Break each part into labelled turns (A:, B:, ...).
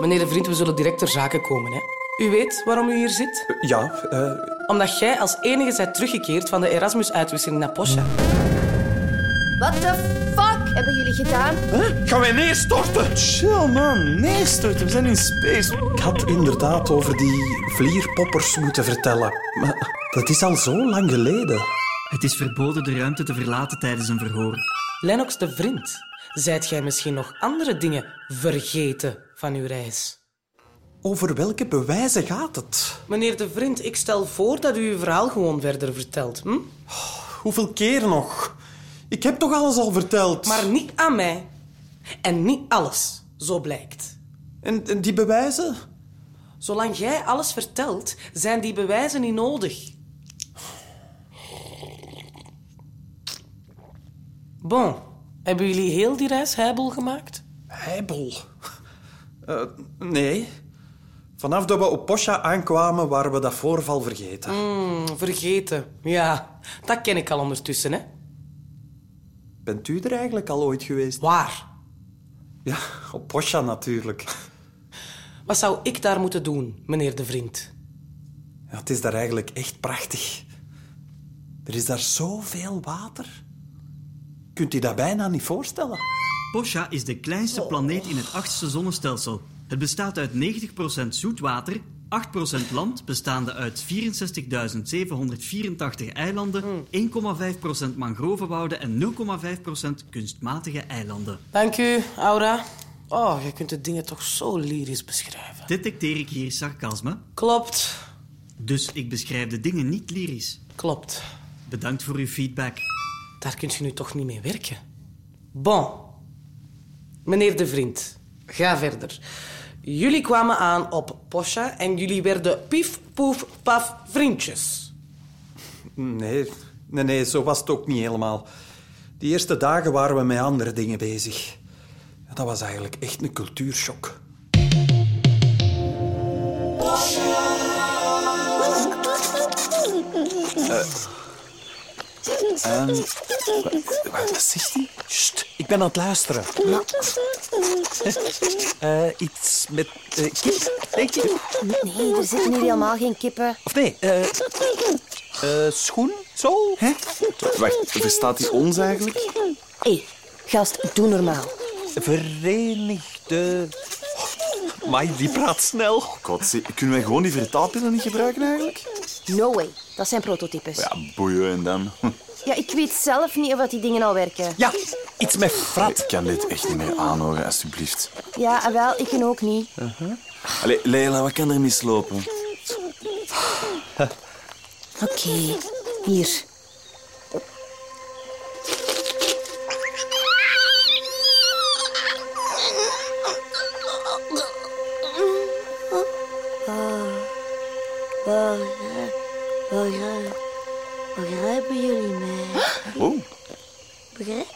A: Meneer de Vriend, we zullen direct ter zake komen. Hè. U weet waarom u hier zit?
B: Ja, eh,
A: Omdat jij als enige bent teruggekeerd van de Erasmus-uitwisseling naar Poscha.
C: What the fuck hebben jullie gedaan?
D: Gaan wij neerstorten?
B: chill man, nee Stuart, we zijn in space. Ik had inderdaad over die vlierpoppers moeten vertellen, maar dat is al zo lang geleden.
E: Het is verboden de ruimte te verlaten tijdens een verhoor.
A: Lennox de Vriend, zijt jij misschien nog andere dingen vergeten van uw reis?
B: Over welke bewijzen gaat het?
A: Meneer de Vriend, ik stel voor dat u uw verhaal gewoon verder vertelt. Hm?
B: Hoeveel keer nog? Ik heb toch alles al verteld?
A: Maar niet aan mij. En niet alles, zo blijkt.
B: En, en die bewijzen?
A: Zolang jij alles vertelt, zijn die bewijzen niet nodig. Bon, hebben jullie heel die reis heibel gemaakt?
B: Heibel. Eh, nee. Vanaf dat we op Poscha aankwamen, waren we dat voorval vergeten.
A: Hm, vergeten. Ja, dat ken ik al ondertussen, hè.
B: Bent u er eigenlijk al ooit geweest?
A: Waar?
B: Ja, op Poscha natuurlijk.
A: Wat zou ik daar moeten doen, meneer de vriend?
B: Ja, het is daar eigenlijk echt prachtig. Er is daar zoveel water. Kunt u dat bijna niet voorstellen?
E: Posha is de kleinste planeet in het achtste zonnestelsel. Het bestaat uit 90% zoet water, 8% land, bestaande uit 64.784 eilanden, 1,5% mangrovenwouden en 0,5% kunstmatige eilanden.
A: Dank u, Aura. Oh, je kunt de dingen toch zo lyrisch beschrijven.
E: Detecteer ik hier sarcasme?
A: Klopt,
E: Dus ik beschrijf de dingen niet lyrisch.
A: klopt.
E: Bedankt voor uw feedback.
A: Daar kunt je nu toch niet mee werken. Bon. Meneer de vriend, ga verder. Jullie kwamen aan op Poscha en jullie werden pief, poef, paf vriendjes.
B: Nee, nee, nee, zo was het ook niet helemaal. Die eerste dagen waren we met andere dingen bezig. Dat was eigenlijk echt een cultuurshock. Eh, ehm, Wat zegt hij? Sst, ik ben aan het luisteren. Eh, iets met eh, kip, denk je?
C: Nee, er zitten hier helemaal geen kippen.
B: Of nee, eh eh, schoen, zo? Hè?
D: Wacht, verstaat hij ons eigenlijk?
C: Hé, gast, doe normaal.
B: Verenigde... Maar die praat snel.
D: Oh God, zie- kunnen wij gewoon die vertaalpillen niet gebruiken eigenlijk?
C: No way. Dat zijn prototypes. Ja,
D: Ja, boeien en dan.
C: ik weet zelf niet of dat die dingen al werken.
B: Ja, iets met frat.
D: Ik kan dit echt niet meer aanhoren, alsjeblieft.
C: Ja, en wel, ik en ook niet.
D: Allee, Leila, wat kan er mislopen?
C: Oké, hier.
F: Begrijp- Begrijpen jullie mij?
D: Oh,
F: Begrijp,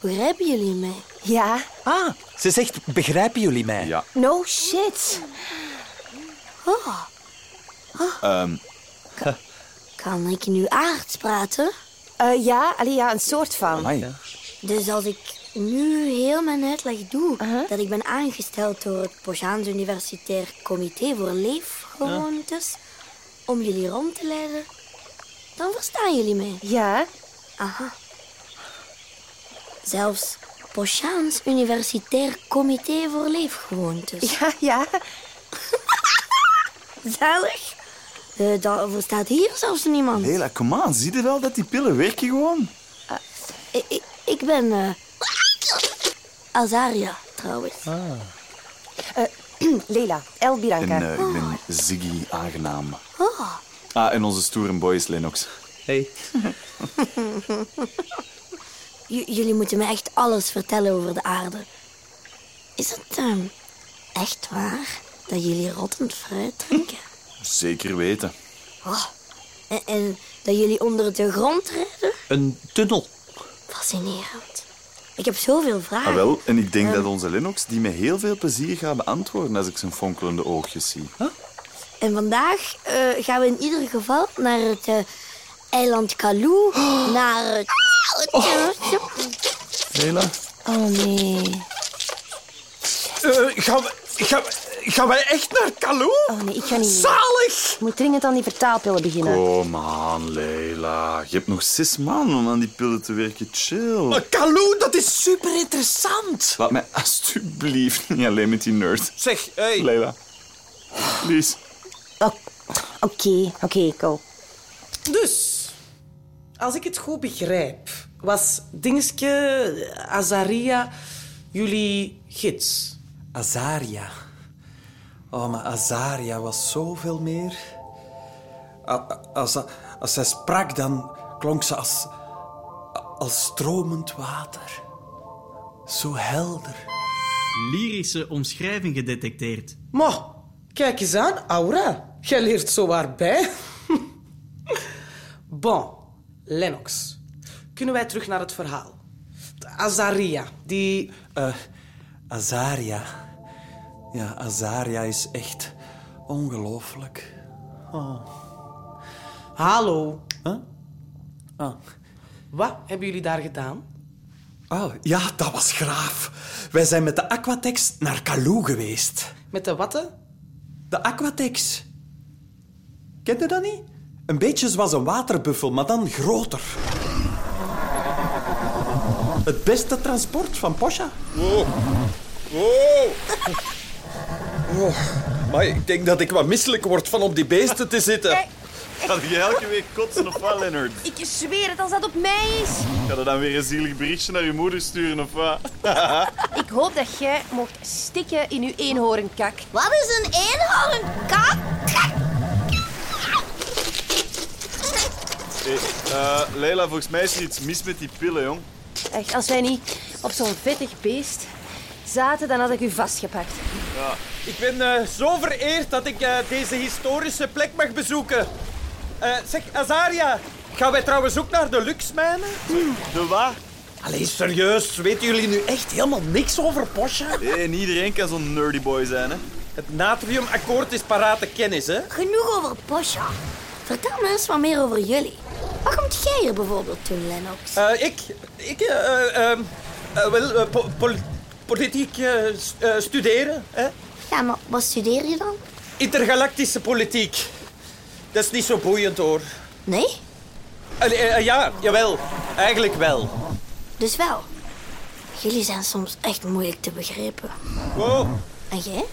F: begrijpen jullie mij?
C: Ja.
B: Ah, ze zegt, begrijpen jullie mij?
D: ja.
C: No shit.
D: Ehm,
F: Kan ik nu aards praten?
C: Eh, ja, allee, ja, een soort van.
D: amai.
F: Dus als ik nu heel mijn uitleg doe, dat ik ben aangesteld door het Posjaans Universitair Comité voor Leefgewoontes om jullie rond te leiden, dan verstaan jullie mij.
C: Ja.
F: Aha. Zelfs Posjaans Universitair Comité voor Leefgewoontes.
C: Ja, ja.
F: Zalig. Eh dat verstaat hier zelfs niemand.
D: Leila, kom aan. Zie je wel dat die pillen werken gewoon?
F: Ik, ik, ik ben. eh, Azaria, trouwens.
C: Hm, Leila, El
D: En
C: Biranka.
D: eh, ik ben Ziggy aangenaam.
F: Oh,
D: Ah, en onze stoere boy is Lennox.
B: Hey.
F: j- jullie moeten me echt alles vertellen over de aarde. Is het eh, echt waar dat jullie rottend fruit drinken?
D: Zeker weten.
F: Oh, en, en dat jullie onder de grond rijden?
B: Een tunnel.
F: Fascinerend. Ik heb zoveel vragen.
D: Ah, wel, en ik denk dat onze Lennox die met heel veel plezier gaat beantwoorden als ik zijn fonkelende oogjes zie.
F: En vandaag eh, gaan we in ieder geval naar het eh, eiland Kalou. Naar het...
D: Leila?
F: Oh nee.
B: gaan, we, Ga- gaan wij echt naar Calais?
G: Oh nee, ik ga niet mee.
B: Zalig!
G: Ik moet dringend aan die vertaalpillen beginnen.
D: Kom aan, Oh Leila. Je hebt nog zes maanden om aan die pillen te werken. Chill.
B: Maar Calais, dat is super interessant.
D: Laat mij alsjeblieft niet alleen met die nerd.
B: Zeg, hey.
D: Leila. Please.
G: Oh, Oké, oké, go.
A: Dus, als ik het goed begrijp, was Dingske Azaria jullie gids.
B: Azaria. Oh, maar Azaria was zoveel meer. A- a- Als, als zij sprak, dan klonk ze als, als stromend water. Zo helder.
E: Lyrische omschrijving gedetecteerd.
A: Maar, kijk eens aan, Aura. Jij leert zowaar bij. bon, Lennox. Kunnen wij terug naar het verhaal? Azaria, die...
B: Eh, Azaria. Ja, Azaria is echt ongelooflijk.
A: Hallo.
B: Huh? Ah.
A: Wat hebben jullie daar gedaan?
B: ah, ja, dat was graaf. Wij zijn met de Aquatex naar Calou geweest.
A: Met de watten?
B: De Aquatex. Ken je dat niet? Een beetje zoals een waterbuffel, maar dan groter. Het beste transport van Posha.
H: Oh. Oh. Maar ik denk dat ik wat misselijk word van op die beesten te zitten.
D: Ga je elke week kotsen of wat, Leonard?
C: Ik zweer het, als dat op mij is.
D: Ga je dan weer een zielig berichtje naar je moeder sturen of wat?
C: Ik hoop dat jij mocht stikken in uw eenhoornkak.
F: Wat is een eenhoornkak?
D: Hey, eh, Leila, volgens mij is er iets mis met die pillen, jong.
C: Echt, als wij niet op zo'n vettig beest zaten, dan had ik u vastgepakt.
H: Ik ben eh, zo vereerd dat ik eh, deze historische plek mag bezoeken. Eh, zeg, Azaria, gaan wij trouwens ook naar de Luxmijnen?
D: De waar?
H: Allee, serieus, weten jullie nu echt helemaal niks over Porsche?
D: Hey, niet iedereen kan zo'n nerdy boy zijn, hè.
H: Het natriumakkoord is parate kennis, hè?
F: Genoeg over Posha. Vertel me eens wat meer over jullie. Waar komt jij hier bijvoorbeeld toen, Lennox?
H: Eh, ik, ik, eh, eh, ehm, eh, wel, eh, po- pol- politiek eh, s- eh, studeren, hè?
F: Ja, maar wat studeer je dan?
H: Intergalactische politiek. Dat is niet zo boeiend, hoor.
F: Nee?
H: Allee, eh, eh, ja, jawel. Eigenlijk wel.
F: Dus wel. Jullie zijn soms echt moeilijk te begrijpen.
H: Wow.
F: En jij?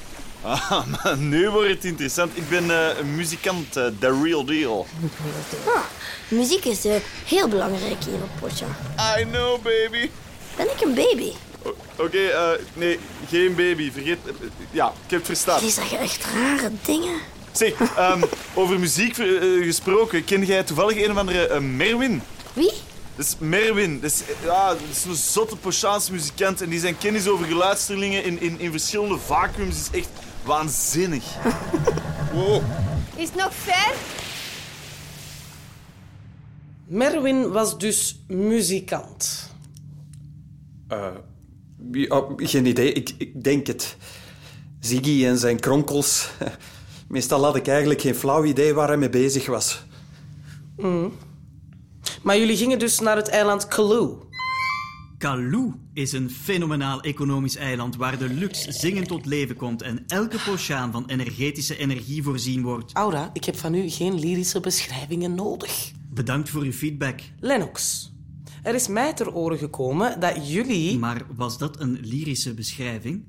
D: Ah, maar nu wordt het interessant. Ik ben eh, een muzikant, eh, the real deal.
F: Ah, muziek is eh, heel belangrijk hier op Potja.
D: I know, baby.
F: Ben ik een baby?
D: O- Oké, eh, nee, geen baby. Vergeet... eh, Ja, ik heb het verstaan.
F: Die zeggen echt rare dingen.
D: Zeg, ehm, over muziek ver- eh, gesproken, ken jij toevallig een of andere eh, Merwin?
F: Wie?
D: Dat is Merwin. Dat is, eh, ja, dat is een zotte Pochaanse muzikant. En die zijn kennis over geluidsterlingen in, in, in verschillende vacuums is echt waanzinnig.
C: Is het nog ver?
A: Merwin was dus muzikant.
B: Ja, oh, geen idee, ik, ik denk het. Ziggy en zijn kronkels. Meestal had ik eigenlijk geen flauw idee waar hij mee bezig was.
A: Maar jullie gingen dus naar het eiland Kaloo.
E: Kalou is een fenomenaal economisch eiland waar de luxe zingend tot leven komt en elke pochaan van energetische energie voorzien wordt.
A: Aura, ik heb van u geen lyrische beschrijvingen nodig.
E: Bedankt voor uw feedback.
A: Lennox, er is mij ter oren gekomen dat jullie...
E: Maar was dat een lyrische beschrijving?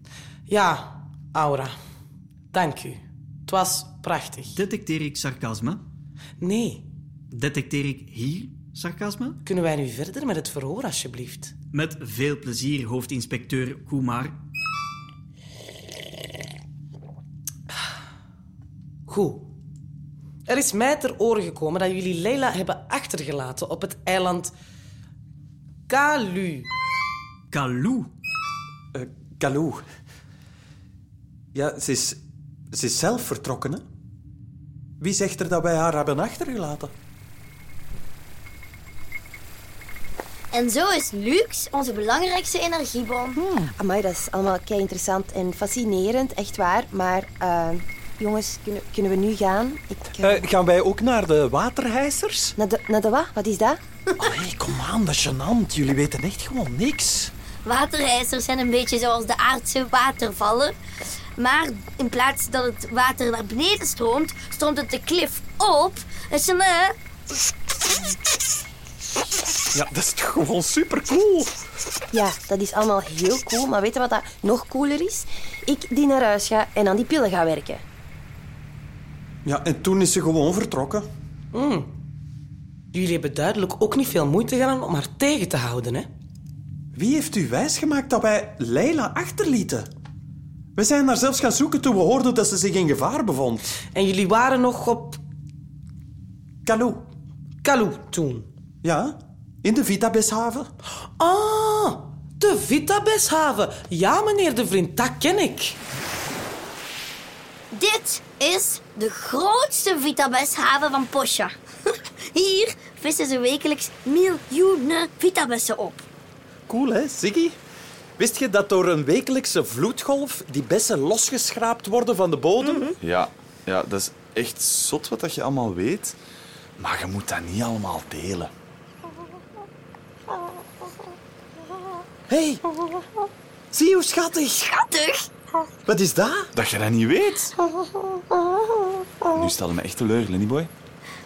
A: Ja, Aura, dank u. Het was prachtig.
E: Detecteer ik sarcasme?
A: Nee,
E: Detecteer ik hier sarcasme?
A: kunnen wij nu verder met het verhoor, alsjeblieft?
E: Met veel plezier, hoofdinspecteur Kumar.
A: Goed. Er is mij ter oren gekomen dat jullie Leila hebben achtergelaten op het eiland Kalu.
E: Kalou.
B: Eh Kalou. Ja, ze is, ze is zelf vertrokken, hè? Wie zegt er dat wij haar hebben achtergelaten?
F: En zo is Lux onze belangrijkste energiebron.
G: Amai, dat is allemaal kei interessant en fascinerend, echt waar. Maar eh, jongens, kunnen, kunnen we nu gaan? Ik, eh,
B: Eh, gaan wij ook naar de waterhijsers?
G: naar, de, naar de wat? Wat is dat?
B: Allee, kom aan, dat is gênant. Jullie weten echt gewoon niks.
F: Waterijzers zijn een beetje zoals de aardse watervallen. Maar in plaats dat het water naar beneden stroomt, stroomt het de klif op. Dus dan, eh,
B: Ja, dat is toch gewoon super cool.
G: Ja, dat is allemaal heel cool. Maar weet je wat dat nog cooler is? Ik die naar huis ga en aan die pillen ga werken.
F: Oh,
B: Ja, en toen is ze gewoon vertrokken.
A: Jullie hebben duidelijk ook niet veel moeite gedaan om haar tegen te houden, hè?
B: Wie heeft u wijsgemaakt dat wij Leila achterlieten? We zijn haar zelfs gaan zoeken toen we hoorden dat ze zich in gevaar bevond.
A: En jullie waren nog op
B: Kaloe.
A: Kalu toen.
B: Ja, in de Vitabeshaven.
A: Ah, de Vitabeshaven. Ja, meneer de vriend, dat ken ik.
F: dit is de grootste vitabeshaven van Posja. Hier vissen ze wekelijks miljoenen vitabessen op.
H: Cool, hè, Ziggy? Wist je dat door een wekelijkse vloedgolf die bessen losgeschraapt worden van de bodem?
D: Ja, ja, dat is echt zot wat dat je allemaal weet. Maar je moet dat niet allemaal delen.
B: hey. zie hoe schattig.
F: Schattig!
B: Wat is dat?
D: Dat je dat niet weet. Nu stelde me echt teleur, Lennyboy.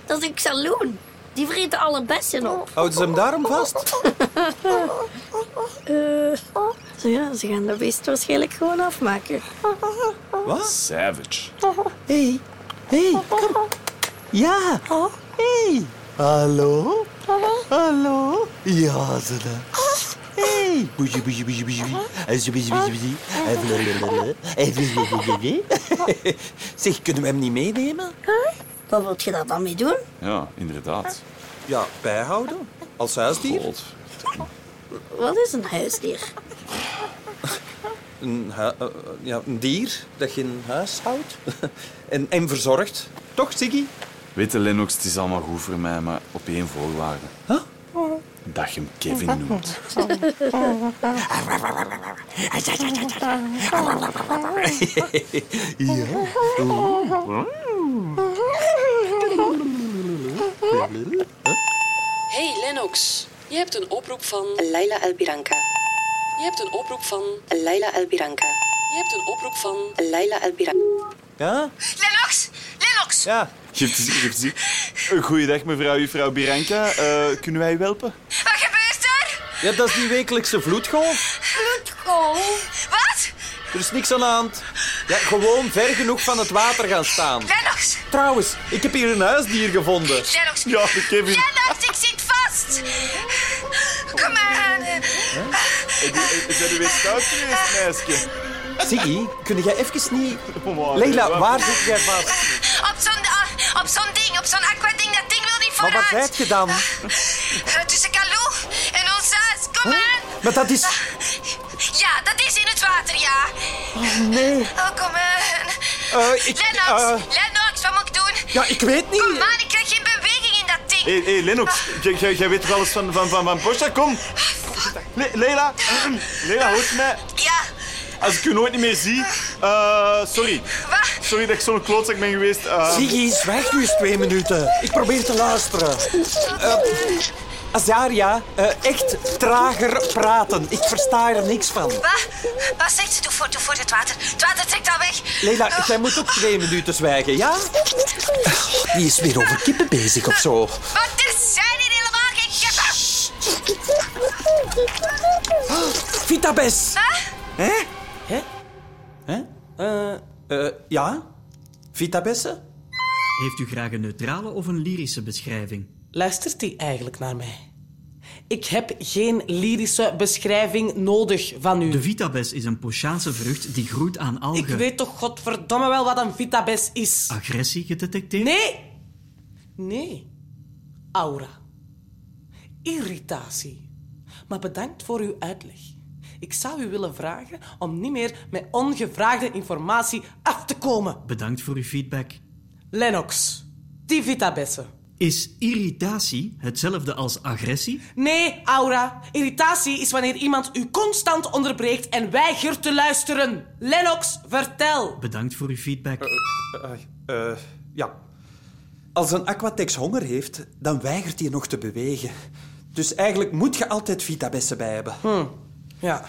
F: Dat is een xaloon. Die vreten alle bessen op.
B: Houden ze hem daarom vast?
I: Eh, oh, Ja, ze gaan dat beest waarschijnlijk gewoon afmaken.
B: Wat?
D: Savage.
B: hey. hey, kom. Ja. hey. Hallo? Hallo? Ja, ze daar. Hey. Boezie, boezie, boezie, boezie. En zo, boezie, boezie, boezie. Eh, En blablabla. En blablabla. Zeg, kunnen we hem niet meenemen?
F: Wat wilt je daar dan mee doen?
D: Ja, inderdaad.
B: Ja, bijhouden. Als huisdier.
D: God.
I: Wat is een huisdier?
B: Een, hu- eh, ja, een dier dat je in huis houdt en, en verzorgt. Toch, Ziggy?
D: Weet je, Lennox, het is allemaal goed voor mij, maar op één voorwaarde.
B: Huh?
D: Dat je hem Kevin noemt.
J: Hey Lennox, je hebt een oproep van.
I: Laila Elbiranka.
J: Je hebt een oproep van.
I: Laila Elbiranka.
J: Je hebt een oproep van.
I: Laila Elbiranka.
B: Ja?
F: Lennox! Lennox!
B: Ja.
D: Je hebt het gezien, je hebt het gezien. Goeiedag, mevrouw, juffrouw Biranka. Eh, kunnen wij u helpen?
F: Wat gebeurt er?
B: ja, dat is die wekelijkse vloedgolf.
F: Bloedgolf. Wat?
B: Er is niks aan de hand. Ja, gewoon ver genoeg van het water gaan staan.
F: Lennox!
B: Trouwens, ik heb hier een huisdier gevonden.
F: Lennox!
D: Ja, Kevin.
F: Lennox, ik zit vast! Kom maar aan.
D: Zijn we weer stout geweest, meisje?
B: Ziggy, kun jij even niet...
D: Kom
B: Leila, waar zit jij vast?
F: Op zo'n ah, op zo'n ding, op zo'n aquading, dat ding wil niet
B: Maar wat
F: vooruit.
B: zijt je dan?
F: Eh, Tussen Kalou en ons huis, kom aan.
B: Maar dat is...
F: Ja, dat is in het water, ja.
B: Nee.
F: Oh, kom aan.
B: Eh, ik-
F: Lennox,
B: eh.
F: Lennox, wat moet ik doen?
B: Ja, ik weet
F: Kom
B: niet.
F: aan, ik krijg geen beweging in dat ding.
D: Hé, hey, Lennox, jij- jij jij weet toch alles van, van, van, van Porsche? Kom! Kom, zit daar. Le Leila, Leila, hoort je mij?
F: Ja,
D: Als ik u nooit niet meer zie, eh, sorry.
F: wat?
D: Sorry dat ik zo'n klootzak ben geweest. eh.
B: Ziggy, zwijg nu eens twee minuten. Ik probeer te luisteren. Eh, Azaria, eh, echt trager praten. Ik versta er niks van.
F: Wat? Ah, Wat zegt ze? Doe voor, doe voor het water. Het water trekt al weg. Oh,
B: Leila, jij moet ook twee minuten zwijgen, ja? Die is weer over kippen bezig of zo.
F: Wat er zijn hier helemaal geen Ah. kippen.
B: Vitabes! Hè?
A: Hè?
B: Hè?
A: Eh,
B: Eh, ja? Vitabesse?
E: Heeft u graag een neutrale of een lyrische beschrijving?
A: luistert die eigenlijk naar mij? Ik heb geen lyrische beschrijving nodig van u.
E: De vitabes is een Pochaanse vrucht die groeit aan
A: Ik
E: algen.
A: weet toch godverdomme wel wat een vitabes is.
E: Ah. Agressie gedetecteerd?
A: Nee. Nee. Aura. Irritatie. Maar bedankt voor uw uitleg. Ik zou u willen vragen om niet meer met ongevraagde informatie af te komen.
E: Bedankt voor uw feedback.
A: Lennox. Die vitabessen.
E: Is irritatie hetzelfde als agressie?
A: Nee, Aura. Irritatie is wanneer iemand u constant onderbreekt en weigert te luisteren. Lennox, vertel.
E: Bedankt voor uw feedback.
B: Eh, ja. Als een aquatex honger heeft, dan weigert hij nog te bewegen. Dus eigenlijk moet je altijd Vitabesse bij hebben.
A: Ja.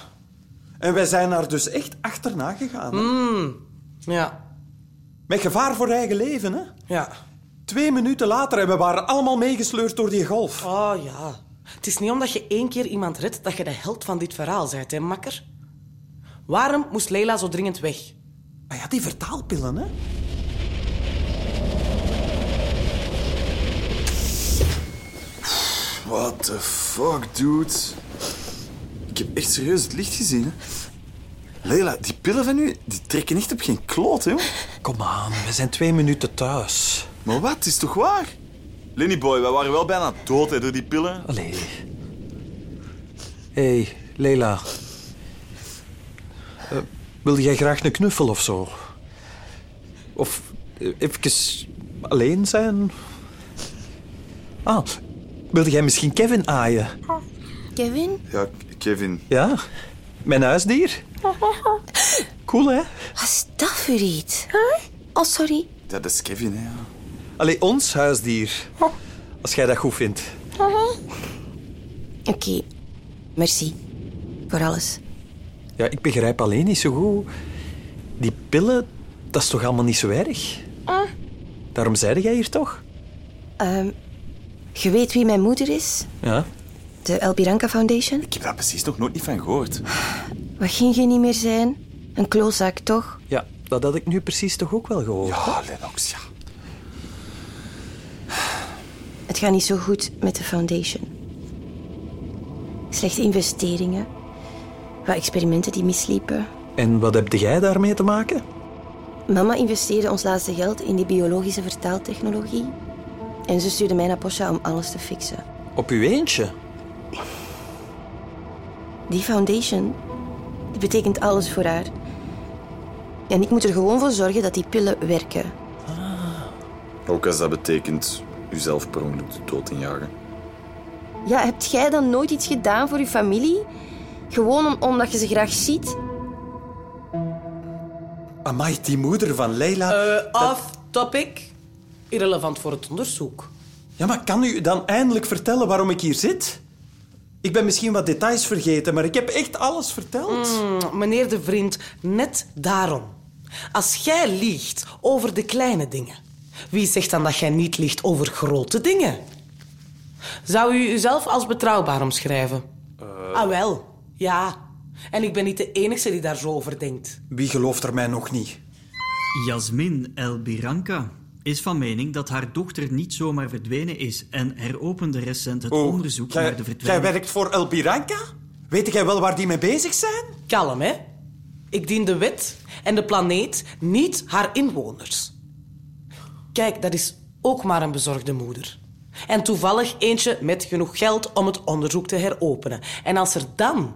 B: En wij zijn daar dus echt achterna gegaan. hè?
A: Ja.
B: Met gevaar voor eigen leven, hè?
A: Ja.
B: Twee minuten later en we waren allemaal meegesleurd door die golf.
A: Oh ja. Het is niet omdat je één keer iemand redt dat je de held van dit verhaal bent, hè, makker? Waarom moest Leila zo dringend weg?
B: Ah ja, die vertaalpillen, hè?
D: What the fuck, dude? Ik heb echt serieus het licht gezien, hè? Leila, die pillen van u, die trekken echt op geen kloot, hè?
B: Kom aan, we zijn twee minuten thuis.
D: Maar wat? Het is toch waar? Lenny boy, wij waren wel bijna dood, hè, door die pillen.
B: Allee. Hé, hey, Leila. Eh, wilde jij graag een knuffel of zo? Of eh, even alleen zijn? Ah, wilde jij misschien Kevin aaien?
F: Kevin?
D: Ja, Kevin.
B: Ja, mijn huisdier. Cool, hè?
F: Wat is dat voor iets? Oh, sorry.
D: Dat is Kevin, hè. ja.
B: Allee, ons huisdier. Als jij dat goed vindt.
G: Oké, merci voor alles.
B: Ja, ik begrijp alleen niet zo goed. Die pillen, dat is toch allemaal niet zo erg? Daarom zeide jij hier toch?
G: Ehm, je weet wie mijn moeder is?
B: Ja.
G: De Elbiranka Foundation?
D: Ik heb daar precies nog nooit niet van gehoord.
G: Wat ging je niet meer zijn? Een klootzak, toch?
B: Ja, dat had ik nu precies toch ook wel gehoord.
D: Ja, Oh, Lennox, ja.
G: Het gaat niet zo goed met de foundation. Slechte investeringen. Wat experimenten die misliepen.
B: En wat heb jij daarmee te maken?
G: Mama investeerde ons laatste geld in die biologische vertaaltechnologie. En ze stuurde mij naar Porsche om alles te fixen.
B: Op uw eentje?
G: Die foundation, die betekent alles voor haar. En ik moet er gewoon voor zorgen dat die pillen werken.
D: Ook als dat betekent uzelf per ongeluk de dood injagen.
G: Ja, hebt jij dan nooit iets gedaan voor je familie? Gewoon om- omdat je ze graag ziet?
B: Amai, die moeder van Leila.
A: Eh, off topic. Irrelevant voor het onderzoek.
B: Ja, maar kan u dan eindelijk vertellen waarom ik hier zit? Ik ben misschien wat details vergeten, maar ik heb echt alles verteld.
A: Mm, meneer de vriend, net daarom. Als jij liegt over de kleine dingen, wie zegt dan dat jij niet liegt over grote dingen? Zou u uzelf als betrouwbaar omschrijven? Ah wel, ja. En ik ben niet de enige die daar zo over denkt.
B: Wie gelooft er mij nog niet?
E: Jasmin Elbiranka is van mening dat haar dochter niet zomaar verdwenen is en heropende recent het
B: Oh,
E: onderzoek
B: jij-
E: naar de
B: Jij
E: verdwijning.
B: werkt voor El Piranca? Weet jij wel waar die mee bezig zijn?
A: Kalm, hè? Ik dien de wet en de planeet, niet haar inwoners. Kijk, dat is ook maar een bezorgde moeder. En toevallig eentje met genoeg geld om het onderzoek te heropenen. En als er dan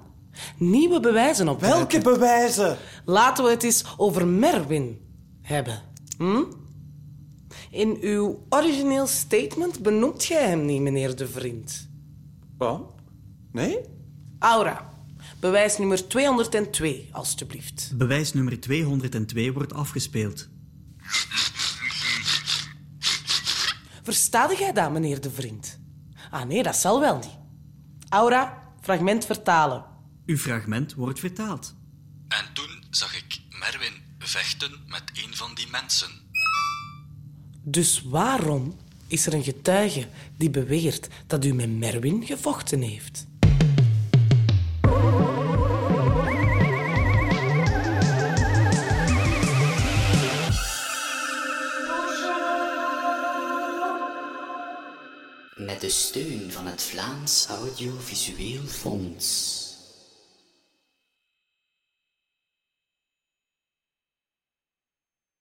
A: nieuwe bewijzen op
B: Welke bewijzen?
A: laten we het eens over Merwin hebben. Hm? In uw origineel statement benoemt jij hem niet, meneer de vriend.
B: Wat? Nee?
A: Aura, bewijs nummer 202, alstublieft.
E: Bewijs nummer 202 wordt afgespeeld.
A: Verstaat jij dat, meneer de vriend? Ah nee, dat zal wel niet. Aura, fragment vertalen.
E: Uw fragment wordt vertaald.
K: En toen zag ik Merwin vechten met een van die mensen.
A: Dus waarom is er een getuige die beweert dat u met Merwin gevochten heeft?
K: Met de steun van het Vlaams Audiovisueel Fonds.